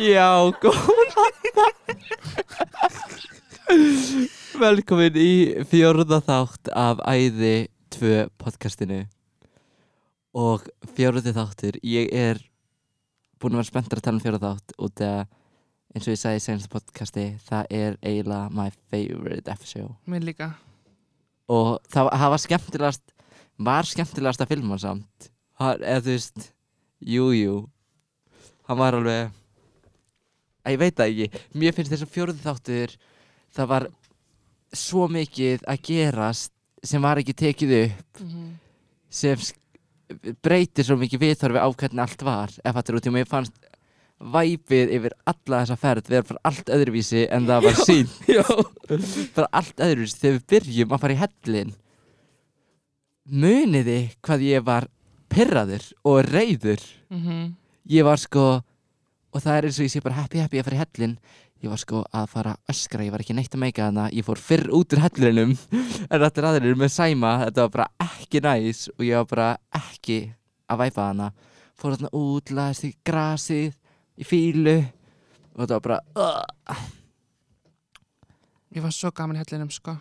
Já, góðan dag. Velkomin í fjórða þátt af Æði 2 podcastinu og fjórði þáttur, ég er búin að vera spenntur að tala um fjórða þátt út af eins og ég sagði í senasta podcasti, það er eiginlega my favorite F-show Mér líka og það, það var skemmtilegast var skemmtilegast að filma hann samt það, eða þú veist jú, jú hann var alveg að ég veit það ekki, mér finnst þess að fjórði þáttur það var svo mikið að gerast sem var ekki tekið upp Mhm. sem sk- breytir svo mikið viðþorfi á hvernig allt var ef þetta er út í mig fannst væpið yfir alla þessa ferð við erum bara allt öðruvísi en það var sín Já bara allt öðruvísi þegar við byrjum að fara í hellin muniði hvað ég var pirraður og reyður Mhm. ég var sko og það er eins og ég sé bara happy happy að fara í hellin ég var sko að fara að öskra ég var ekki neitt að meika þarna, ég fór fyrr út úr hellinum en allir aðrir með sæma þetta var bara ekki næs og ég var bara ekki að væpa þarna fór þarna út, laðist í grasið í fílu og þetta var bara, uh, Ég var svo gaman í hellinum sko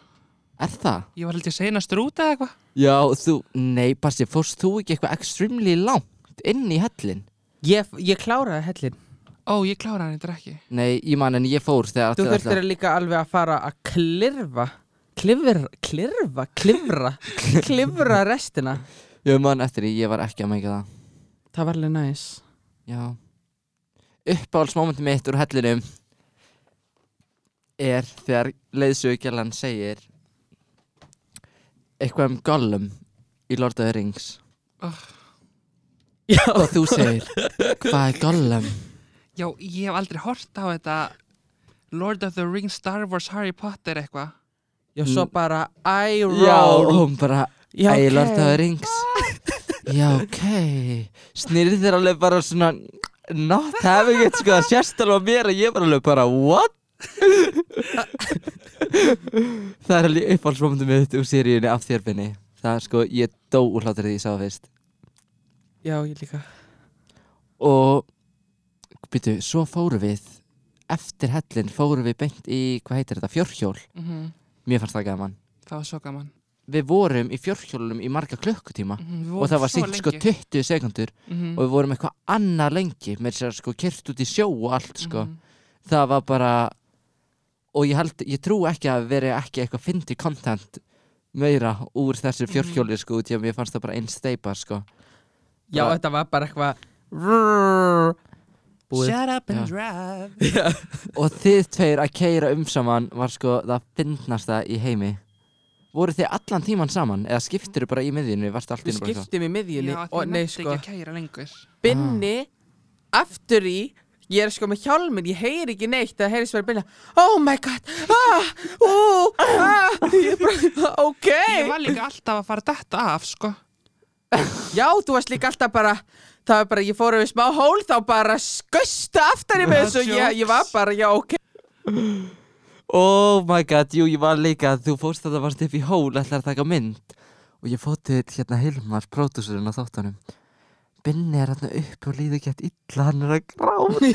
er það? Ég var held ég seinastur út eða eitthvað Já, þú, nei, Basti, fórst þú ekki eitthvað extremely langt inn í hellin? Ég, ég kláraði hellin Ó, ég klára hann eitthvað ekki Nei, ég man en ég fór þegar Þú allir þurftir líka alveg að fara að klirfa Klifra, klirfa, klifra Klifra restina Ég man eftir því, ég var ekki að mæka það Það var alveg næs Já Uppáhaldsmomentum mitt úr hellinum er þegar leiðsögjalan segir eitthvað um Gollum í Lord of the Rings Já, og þú segir, hvað er Gollum? Já, ég hef aldrei hort á þetta Lord of the Rings, Star Wars, Harry Potter eitthvað já svo bara I Mm. Já, og roll hún bara, Já, Æ, Lord of the ok. Rings Já, ok Snýrið þér alveg bara svona Not having it, sko Sérstaklega á mér að ég var alveg bara What? það er alveg uppáhaldsmomentum mitt úr seríunni af þjörfinni Það er sko, ég dó úr hlátur því ég sá það fyrst Já, ég líka Og Býtu, svo fórum við Eftir hellin fórum við beint í Hvað heitir þetta? Fjórhjól Mhm. Mér fannst það gaman Það var svo gaman Við vorum í fjórhjólunum í marga klukkutíma Mhm, við Og vorum það var svo sýnt sko lengi. 20 sekundur Mhm, og við vorum eitthvað annað lengi með þess að segja, sko kert út í sjó og allt sko mhm. það var bara og ég held, ég trú ekki að veri ekki eitthvað fyndi content meira úr Mhm. þessu fjórhjóli sko út í að mér fannst það bara einn steipa sko Já, Bara- þetta var bara eitthvað Rrrr. Búið Shut up and Já. drive og þið tveir að keira um saman var sko það fyndnasta í heimi voru þið allan tíman saman eða skiptirðu bara í miðjunni, varstu allt í Við einu bara eitthvað skiptum í miðjunni Já, því og ég nei mætti sko ekki að kæra lengur Binni aftur í Ég er sko með hjálminn, ég heyri ekki neitt Það heyrist verið byrja Oh my god, ah, ú, ah Ég bara, ok Ég var líka alltaf að fara þetta af sko Já, þú varst líka alltaf bara Það var bara, ég fór yfir smá hól Þá bara skustu aftan í mig Ah, þessu ég, ég var jokes. bara, já, ok Oh my god, jú, ég var líka Þú fórst að það varst upp í hól, ætlar að taka mynd Og ég fótt til hérna Hilmar Pródúsurinn á þáttunum Binni er hérna upp og líður gett illa Hann er að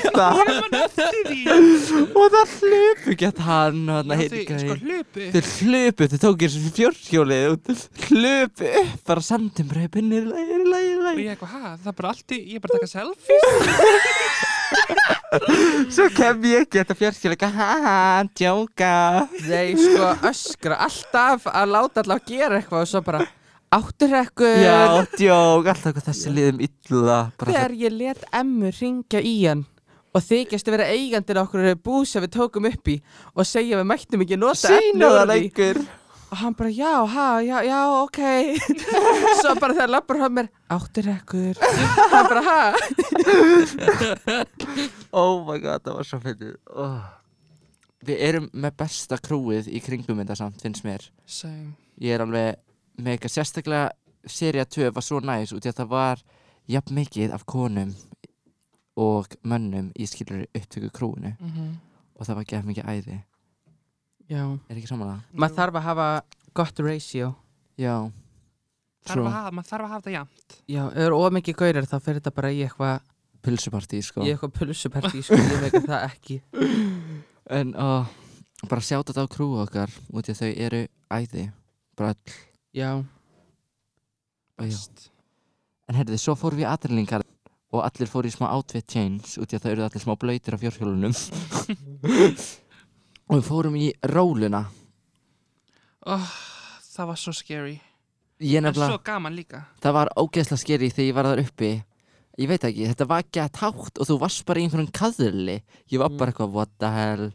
gráta Því Og það hlupu gett hann og hérna að þau sko Hilmar hlupu Þau hlupu, þau tók eins og fjórhjólið og hlupu upp, bara sandum bara, Binni er í lagi, er í lagi, er í og lagi ég eitthvað, hæ, það er bara allt í, ég er bara að taka selfies Svo kem ég ekki þetta fjórhjólið ha ha, djóka Þeir sko öskra alltaf að láta alltaf gera eitthvað Og svo bara, áttur ekkur Já, djók, alltaf hvað þessi liðum illa bara Þegar ég let emmu ringja í hann Og þykjast að vera eigandinn á okkur bú sem við tókum upp í og segja að við mættum ekki nota Sýna það efniorð í. lengur og hann bara, já, ha, já, já, ok svo bara þegar lappur hann mér áttur ekkur hann bara, ha, Oh my god, það var svo fyndið oh. Við erum með besta krúið í kringum þetta samt, finnst mér Same. Ég er alveg með eitthvað sérstaklega Serja 2 var svo næs út í að það var jafn mikið af konum og mönnum í skilur upptöku krúinu Mhm. og það var gett mikið æði já Er ekki samanlega? maður þarf að hafa gott ratio Já Þarf True. að hafa, maður þarf að hafa þetta jafnt já, ef það eru ómikið gaurir þá fyrir þetta bara í eitthvað pulsupartí sko Ég er eitthvað pulsupartí, sko, ég meika það ekki En ó, bara sjáta þetta á krúu okkar út í að þau eru æði bara öll Já, og já. En herðið, svo fórum við aðrinlingar og allir fóru í smá outfit change út í að það eru allir smá blöytir á fjórhjólunum og við fórum í róluna oh, Það var svo scary Ég En nefnilega, svo gaman líka það var ógeðslega skeri þegar ég var þar uppi Ég veit ekki, þetta var ekki að tátt og þú varst bara í einhverjum kaðli Ég Mm. var bara eitthvað, what the hell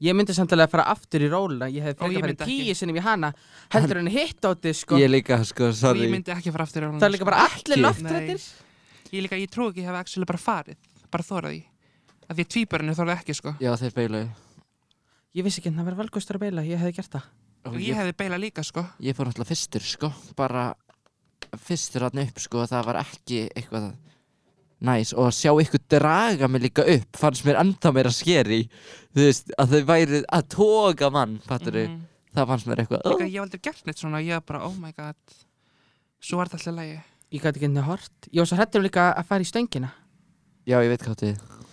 ég myndi samt alveg að fara aftur í róluna Ég hef Ó, ég frekar farið myndi ekki. tíu sinnum í hana Heldur en hitt átti, sko Ég líka, sko, Sorry. Ég sorry myndi ekki fara aftur í róluna, Það er líka bara allir Ekki. loftrættir sko. Ég líka, ég trúi ekki, ég hef actually bara farið Bara þóraði Af því að tvíbörinu þóraði ekki, sko Já, þeir beilu Ég vissi ekki að það verið valgustur að beila, ég hefði gert það Og ég hefði beila líka, sko Ég fór náttúrulega fyrstur sko bara fyrstur hann upp sko það var ekki eitthvað næs og að sjá ykkur draga mig líka upp fannst mér enda meira skeri þú veist að þau væri að toga mann fattur þau Mhm. það fannst mér eitthvað Líka, oh, ég hef aldrei gert neitt svona Ég var bara, oh my god Svo var þetta alltaf lægi Ég gæti ekki henni hort Ég var svo hrættur líka að fara í stöngina já ég veit hvað átti við.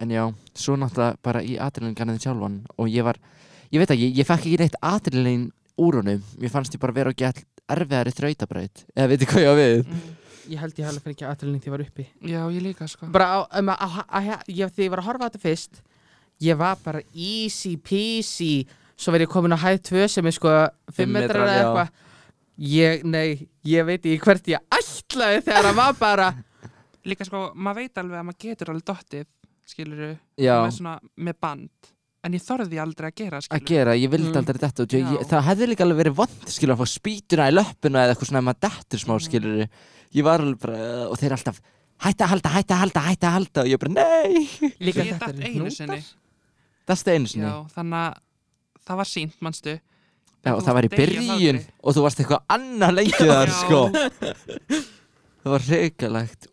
en já svo náttúrulega bara í atrilingarnið sjálfan og ég var ég veit ekki ég fekk ekki neitt atrilin úr honum mér fannst ég bara vera ekki all erfiðari þrautabraut eða veit ekki hvað ég á við mm. Ég held ég hafði fyrir ekki aðtölinni því ég var uppi Já, ég líka, sko Bara á, um, að- á, á, á, ég, þegar ég var að horfa á þetta fyrst Ég var bara easy peasy Svo verið ég komin á hæð 2 sem er sko 5 Fimm metrar, metrar eða já. eitthvað Ég, nei, ég veit ekki hvert ég ætlaði þegar það var bara Líka, sko, maður veit alveg að maður getur alveg dottið Skiluru, já með svona, með band En ég þorði aldrei að gera, að skiluru gera, ég vildi Mm. aldrei detta út ég, Já. ég, það hefði líka alveg verið vond skilur að fá spýtuna í löppuna eða eitthvað svona ef maður dettur smá Mhm. skilur ég var alveg bara, uh, og þeir alltaf hætta að halda, hætta að halda, hætta að halda og ég bara, nei, Líka Ég þetta datt eru einu hnútar. sinni. það stið einu sinni Já, þannig að það var sínt, manstu Já, þú það var í varst að deyja af byrjun hlátri. og þú varst eitthvað annað lengið þar Já. sko það var reykalegt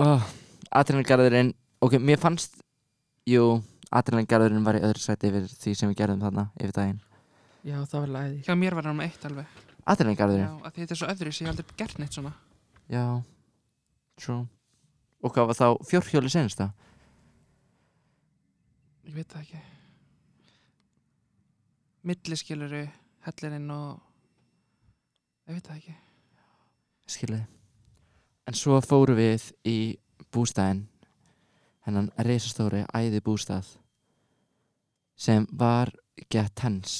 oh, Adrenalingarðurinn ok, mér fannst jú, Adrenalingarðurinn var í öðru sæti yfir því sem við gerðum þarna yfir daginn Já, það var læði Hjá mér var hann um eitt alveg Já, Adrenalingarðurinn, að því þetta er svo öðru sem ég hef aldrei gert neitt svona já. true og hvað var þá fjórhjóli senst það? Ég veit það ekki Milliskiluru, hellirinn og Ég veit það ekki Skiljiði. En svo fórum við í bústæðin, hennan reisastóri æði bústæð, sem var gett tens.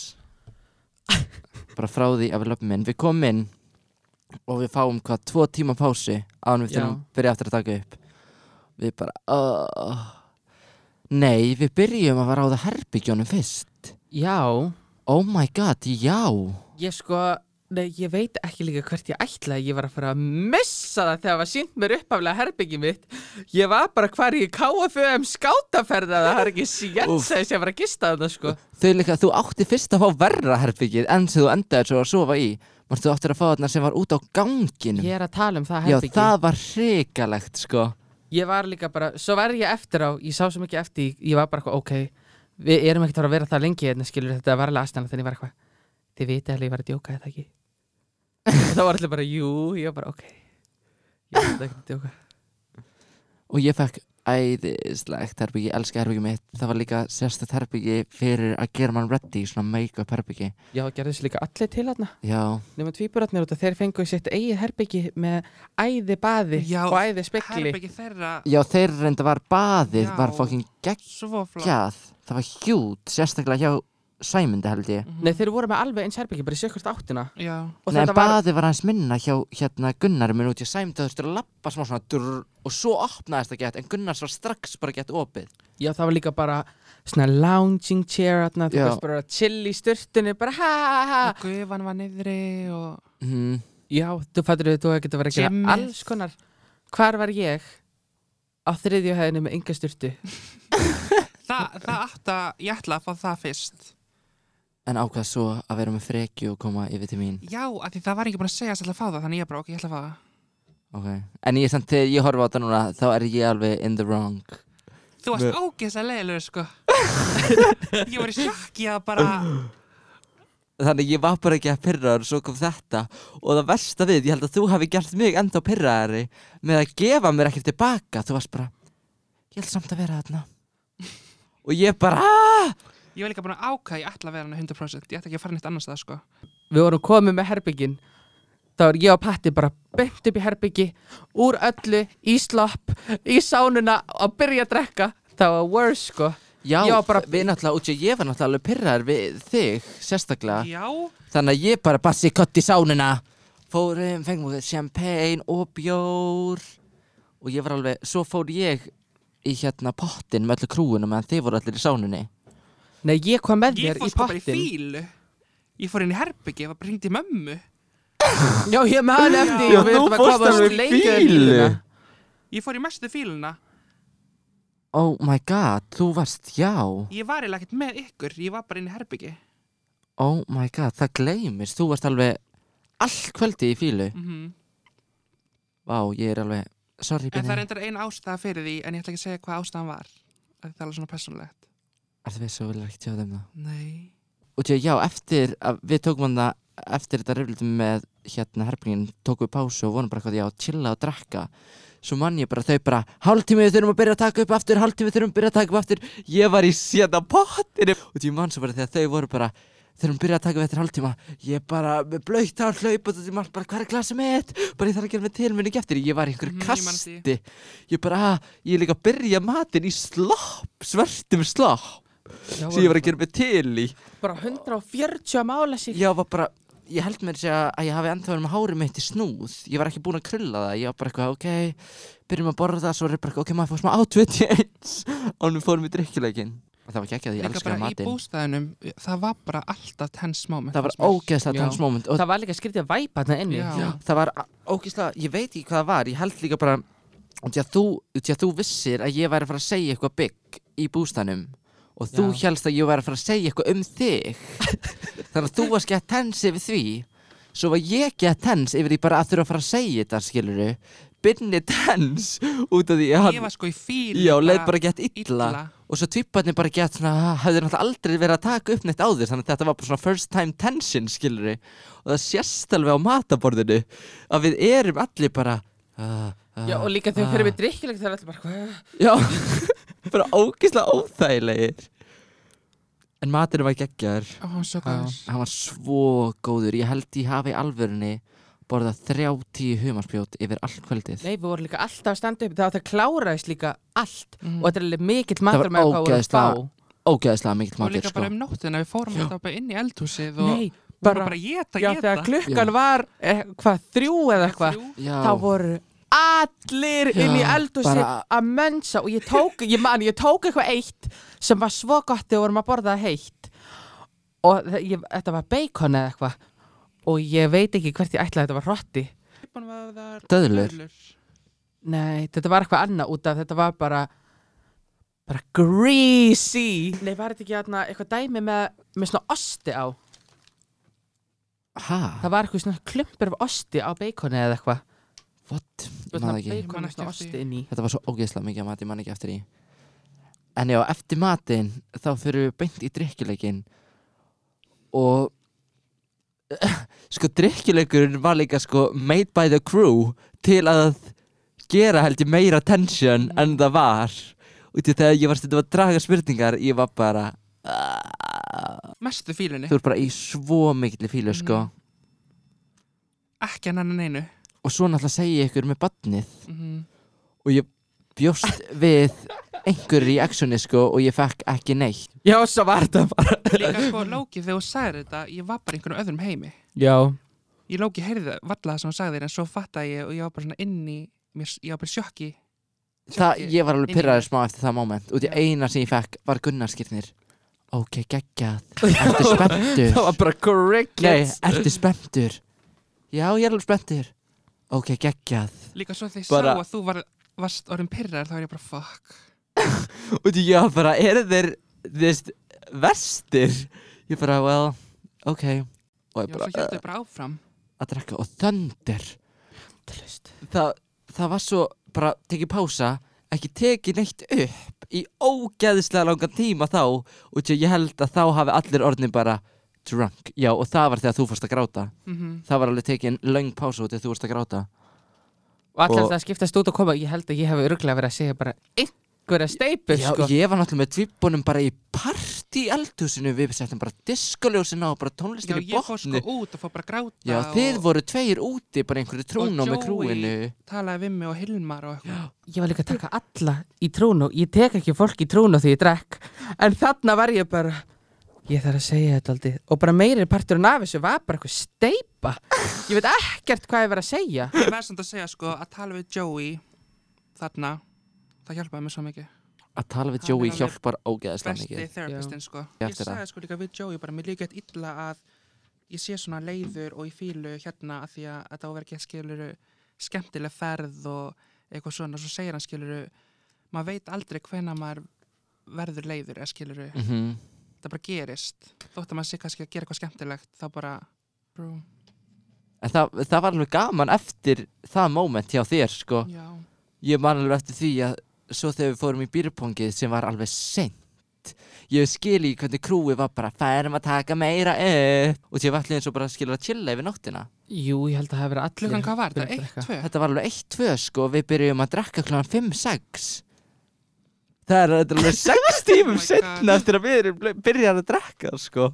Bara frá því að við löfum inn. Við komum inn og við fáum hvað, tvo tíma pási án við Já. þurfum að byrja aftur að taka upp. Við bara, oh. Nei, við byrjum að fara á það herbyggjónum fyrst. Já, Oh my god, já. Ég sko, nei, ég veit ekki líka hvert ég ætlaði, ég var að fara að missa það þegar það var sínt mér uppaflega herbyggið mitt. Ég var bara hvar ég KFUM skátaferða það, það er ekki Úff. sjens að ég var að gista þarna sko. Þau líka, þú átti fyrst að fá verra herbyggið enn sem þú endaði svo að sofa í Marstu þú áttir að fá þarna sem var út á ganginum Ég er að tala um það Já, herbyggið. það var hrikalegt, sko Ég var líka bara, svo var ég eftir á, ég sá svo mikið eftir, í- ég var bara eitthvað, ok, við erum ekkert að fara að vera það lengi hérna, skilur þetta var alveg aðstæðan, þannig ég var eitthvað, þið vitið alveg ég var að djóka þetta ekki. Og það var allir bara, jú, ég var bara, ok, ég var þetta ekki að djóka. Og ég fekk æðislegt herbyggi, elska herbyggi mitt Það var líka sérstætt herbyggi fyrir að gera mann ready, svona make-up herbyggi Já, gerðist líka allir til þarna. Já, nema tvíburarnir út að þeir fengu sitt eigið herbyggi með æði baði Já, og æði spekli Herbyggi þeirra já þeir reynda var baðið, Já. var fokkin svo flott geggjað Það var hjút, sérstaklega hjá Sæmundi held ég Mhm. Nei, þeir voru með alveg eins herbyggi, bara í sjökkvart áttina Já, og Nei, þetta var, baðið var aðeins minna hjá hérna Gunnar minn út í Sæmundi þú þurftur að lappa smá svona drr, og svo opnaðist það gett en Gunnars var strax bara gett opið já það var líka bara svona lounging chair atna, þú Já. veist bara að chill í sturtunni bara ha ha ha og gufan var niðri og mm. Já, þú fattur þau, þú getur verið að Gymmið. gera alls konar Hvar var ég? Á þriðju hefðinu með enga sturtu Það, það átt að, ég ætla að fá það fyrst en ákvað svo að vera með freki og koma yfir til mín Já, af því það var ekki búin að segja að ætla að fá það Þannig ég bara, ok, ég ætla að fá það okay. en ég samt þegar ég horfa á þetta núna þá er ég alveg in the wrong Þú varst Nei. ágeðslega leiðilegur, sko Ég var í sjokki að bara þannig ég var bara ekki að pyrra og svo kom þetta og það versta við, ég held að þú hafi gert mig enda á pyrraðari með að gefa mér ekkert tilbaka þú varst bara, ég held samt að vera þarna og ég bara "Ah!" Ég var líka búin að ákvæða, ég ætla að vera hana 100%. Ég ætla ekki að fara neitt annars það, sko. við vorum komið með herbyggin þá er ég og Patti bara beint upp í herbyggi úr öllu, í slopp í sánuna og byrja að drekka það var worse sko já, Ég var bara- við náttúrulega, útjá, ég var náttúrulega alveg pyrraðar við þig, sérstaklega Já, þannig að ég bara bassi kött í sánuna fórum, fengum við champagne og bjór og ég var alveg, svo fór ég í hérna pottin með öllu krúunum meðan þið voru allir í sánunni nei ég kom með ég þér í fór sko bara í pottin fílu. Ég fór inn í herbyggi, ég var bara hringt í mömmu. já ég er með hann eftir Já, og við þú erum að fórst koma alveg í lengra í fýlu. fýluna. Ég fór í mestu fíluna. Oh my god, þú varst, já Ég var eiginlega ekkert með ykkur, ég var bara inn í herbyggi. Oh my god, það gleymist Þú varst alveg allt kvöldi í fílu Mm Vá, ég er alveg, sorry En það er Benni endar einn ástæða fyrir því, en ég ætla ekki að segja hvað ástæðan var. Af því Það er alveg svona persónlegt. Er það við svo vilja ekki tjóða þeim það Nei. Og tjá, já, eftir að við tókum hann það Eftir þetta riflum með hérna herpingin Tókum við pásu og vonum bara hvað ég á að chilla og drakka Svo mann ég bara þau bara Hálftími við þurfum að byrja að taka upp aftur Hálftími þurfum að byrja að taka upp aftur Ég var í sérna pottinu Og tjá, mann svo bara þegar þau voru bara Þurfum að byrja að taka upp eftir hálftíma Ég bara með blöytt hálf hlaup Og þetta er bara hvað er glasið mitt Bara ég þarf að gera mig tilminning eftir Ég var í einhverju Mhm, ég man kasti eftir Ég bara, ah, ég er líka að byrja matinn í slopp Svertum slopp Já, Sem ég var að gera mig til í bara 140 mála sig Já, var bara, ég held mér að, að ég hafi ennþá verið með hárið mitt í snúð Ég var ekki búin að krulla það, ég var bara eitthvað, ok Byrjum að borða það, svo er ég bara, eitthvað, ok, maður fór smá átveit í eins Ánum við fórum í drikkjuleikin Það var ekki ekki að ég Líka elska bara í matinn bústæðunum, það var bara alltaf tense moment. Það var fannst mér. ógeðslega Já. tannsmoment og það var líka skrítið að væpa þarna inni Já. Já, það var a- ógeðslega, ég veit ekki hvað það var, ég held líka bara Því að þú, því að þú vissir að ég væri að fara að segja eitthvað bygg í bústanum Og þú Já. hélst að ég væri að fara að segja eitthvað um þig Þannig að þú varst gett tens yfir því Svo var ég gett tens yfir því bara að þurfa að fara að segja þetta, skiluru Binni tens út af því að Ég hann var sko í fílu. Já, leið bara gett illa. illa. Og svo tvíbarnir bara gett svona, ha, hafði náttúrulega aldrei verið að taka upp neitt á þér Þannig að þetta var bara svona first time tension, skiluru Og það sést alveg á mataborðinu Að við erum allir bara ah, ah, Já, og líka þegar fyrir við drikkilegt það er allir bara hvað? Já, bara ógeðslega óþægilegir En maturinn var geggjar Ó, hann var svo góður. Hann var svo góður Ég held ég hafi í alvörunni borðað 30 humarspjót yfir allt kvöldið Nei, við vorum líka alltaf að standa upp það var það kláraðist líka allt Mhm. og þetta er alveg mikill var matur með hvað voru að ógeðslega- fá Ógeðslega mikill Og líka matur sko bara um nóttina, við fórum alltaf bara inn í eldhúsið og Nei, bara, bara- bara geta, Já, geta. þegar klukkan var eh, hvað, þrjú eða eitthvað Þrjú. Já, þá voru allir Já, inn í eldhúsi bara- að mönsa og ég tók, ég man, ég tók eitthvað eitt sem var svo gott þegar vorum að borða það heitt og þe- ég, þetta var bacon eða eitthvað og ég veit ekki hvert ég ætlaði að þetta var hrotti Döðlur. Döðlur. Nei, þetta var eitthvað annað út af þetta var bara bara greasy Nei, var þetta ekki aðna, eitthvað dæmi með, með svona osti á hæ, Það var eitthvað svona klumpur af osti á baconi eða eitthvað what, ég Þú veist, maður svona ekki Ég man bacon með ekki svona eftir því. osti inn í Þetta var svo ógeðslega mikið að mat, ég man ekki eftir í En já, eftir matinn þá fyrir við beint í drikkileikin og sko drikkileikurinn var líka sko made by the crew til að gera held ég meira tension Mm. en það var og til þegar ég var stundum að draga spurningar ég var bara "Ah." Mestu fílunni. þú er bara í svo mikilli fílu Mm. sko Ekki hann hann einu. og svo náttúrulega segi ég ykkur með badnið Mhm. og ég bjóst við einhverju í actioni sko og ég fekk ekki neitt Já, svo var þetta bara Líka sko Lóki, þegar þú sagðir þetta, ég var bara í einhvern öðrum heimi. Já, Ég Lóki heyrði það, valla það sem þú sagðir, en svo fattaði ég og ég var bara svona inn í, mér, ég var bara í sjokki. það, Sjokki. ég var alveg Inn í pyrraður mér. smá eftir það moment og því eina sem ég fekk var Gunnarskirnir ok, geggjað ertu spenntur? það var bara nei, crickets ertu spenntur? já, ég er alveg spenntur ok, geggjað Líka svo þegar ég Bara- sá að þú var, varst orðin pyrrar, þá er ég bara fuck. og því ég var bara, eru þeir þvist, vestir? ég bara, well, ok og ég Já, svo bara, uh, hjáttu ég bara áfram. að drekka og þöndir Endalaust. það, það var svo bara tekið pása ekki tekið neitt upp í ógeðislega langan tíma þá og ég held að þá hafi allir orðin bara drunk Já, og það var þegar þú fórst að gráta mm -hmm. Það var alveg tekin löng pása út þegar þú fórst að gráta og allir Og- það skiptast út og koma ég held að ég hef örglega verið að segja bara einhverja steipu Já, sko. ég var náttúrulega með tvíbunum bara í partí eldhúsinu Við settum bara diskoljósin á og bara Já, tónlistin í ég fór sko botni út og fór bara að gráta Já, og þið voru tveir úti bara í einhverju trúnó með Joey. krúinu talaði við mig og Hilmar og eitthvað ég var líka að taka alla í trúnu ég tek ekki fólk í trúnu því ég drekk en þarna var ég bara ég þarf að segja þetta aldrei og bara meiri parturinn af þessu var bara eitthvað steipa ég veit ekkert hvað ég verið að segja Ég verð samt að segja sko að tala við Joey þarna Það hjálpaði mér svo mikið Að tala við Hann er Joey alveg hjálpar ógeðaslega Besti mikið therapistinn sko Ég Ég eftir það. sagði sko líka við Joey bara mér líka eitt illa að ég sé svona leiður og í fílu hérna að því að að þetta áverði ekki skiluru skemmtileg ferð og eitthvað svona svo segir hann skiluru maður veit aldrei hvena maður verður leiður eða skiluru mm það bara gerist þótt að maður sé kannski að gera eitthvað skemmtilegt þá bara brú, En það, það var alveg gaman eftir það moment hjá þér, sko já, Ég man alveg eftir því að svo þegar við fórum í býrpongið sem var alveg seint Ég skil í hvernig krúið var bara færum að taka meira upp og því var allir eins og bara skilur að chilla yfir nóttina jú, ég held að það hefur verið allir klukkan hvað var þetta? byrjaðir að Eitt, drekka. tvö? Þetta var alveg 1-2 sko við byrjum að drekka klokkan 5-6 Það er þetta er alveg 6 Oh tímum my setna God. eftir að við erum byrjað að drekka sko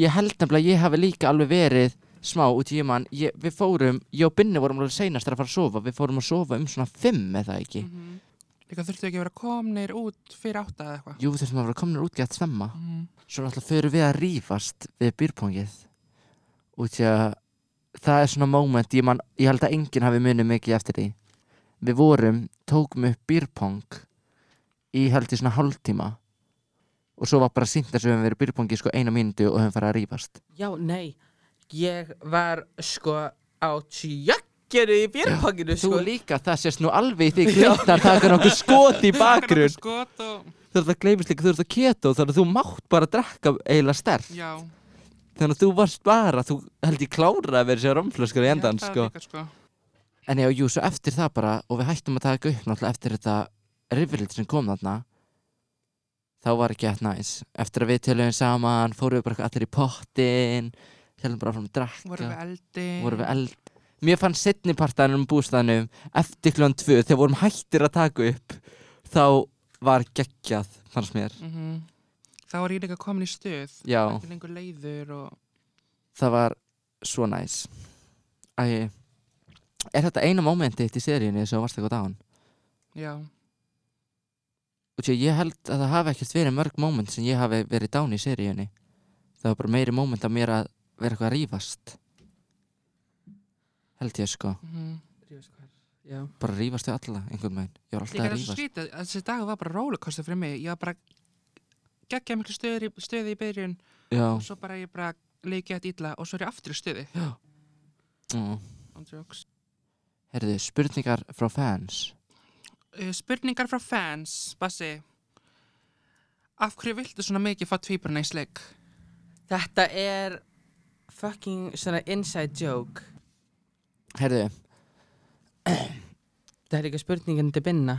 Ég held nefnilega að ég hafi líka alveg verið smá út í mann ég, Við fórum, ég og Binni vorum alveg seinast að fara að sofa Við fórum að sofa um svona 5 eða ekki Mhm. Líka þurftu ekki að vera komnir út fyrir átta eða eitthvað. Jú þessum að vera komnir út gett snemma Mm. svo náttúrulega förum við að rífast við býrpongið út í að það er svona moment ég, man, ég held að enginn hafi munið mikið eftir því við vorum, tókum upp býrpong í held í svona hálftíma og svo var bara sínt þess að við höfum verið býrpongið sko eina mínútu og höfum farið að rífast já, nei, ég var sko á tjökkeru í björnpanginu þú sko. líka, það sést nú alveg í því glittar það er nokkuð skot í bakgrunn Skot og... þú ert að gleymist líka, þú ert að keto þannig að þú mátt bara drekka eiginlega sterkt Já. þannig að þú varst bara, þú held ég klára að vera sér romflöskur í endan Já, það sko Líka, sko. En já, jú, svo eftir það bara og við hættum að taka upp náttúrulega eftir þetta rifilit sem kom þarna þá var ekki eftir næs eftir að við töluðum saman, fórum við bara eitthvað allir í pottin heldum bara fram að drakka, Vorum við eldi. vorum við eld Mér fann setni partanum bústæðanum um eftir kljóðan tvö, þegar vorum hættir að taka upp þá var geggjað, fannst mér Mhm. Þá var ég líka komin í stuð. Já, Ekki lengur leiður og... það var svo næs Æ, er þetta eina mómenti eitt í seríunni sem þú varst eitthvað dán? Já. Útjá, ég held að það hafi ekkert verið mörg móment sem ég hafi verið dán í seríunni. Það var bara meiri móment að mér að vera eitthvað að rífast. Held ég sko. Mm já, Bara að rífast við alla einhvern veginn. Ég var alltaf Líka að þessu rífast. skrítið. að Þessi dag var bara rollercoaster fyrir mig. Ég var bara geggjað miklu stuði, stuði í byrjun Já. og svo bara ég bara leikið eitt illa og svo er ég aftur í stuði. Ó. On jokes. Herðu, mm. spurningar frá fans. Uh, spurningar frá fans, Bassi. Af hverju viltu svona mikið fá tvíburna í sleik? þetta er fucking svona inside joke Herðu, Það er líka spurningin til binna.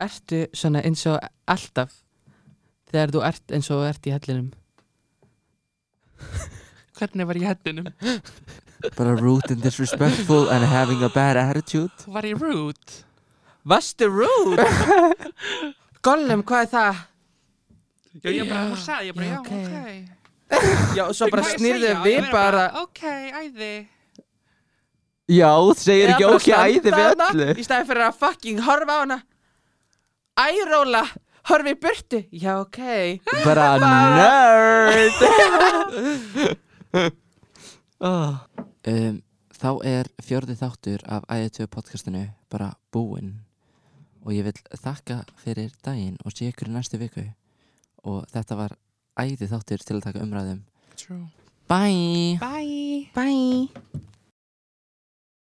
Ertu svona eins og alltaf þegar þú ert eins og þú ert í hellinum? Hvernig var ég í hættinum? bara rude and disrespectful and having a bad attitude. Var ég rude? Vastu rude! Gollum, hvað er það? Já, ég bara, hún sagði, ég bara, Já, já, ok. ok. Já, og svo bara Hvað ég snýrðu segja? Ég við verð bara... Ok, æði. Já, segir ekki Eða bara okki æði standa við hana öllu. Í staði fyrir að fucking horfa á hana. Æróla, horfi í burtu. Já, ok. Bara nerd. oh. um, þá er fjörði þáttur af æðitöðu podcastinu bara búinn og ég vil þakka fyrir daginn og sé ykkur í næstu viku og þetta var æði þáttur til að taka umræðum True. um. Bye! Bye. Bye.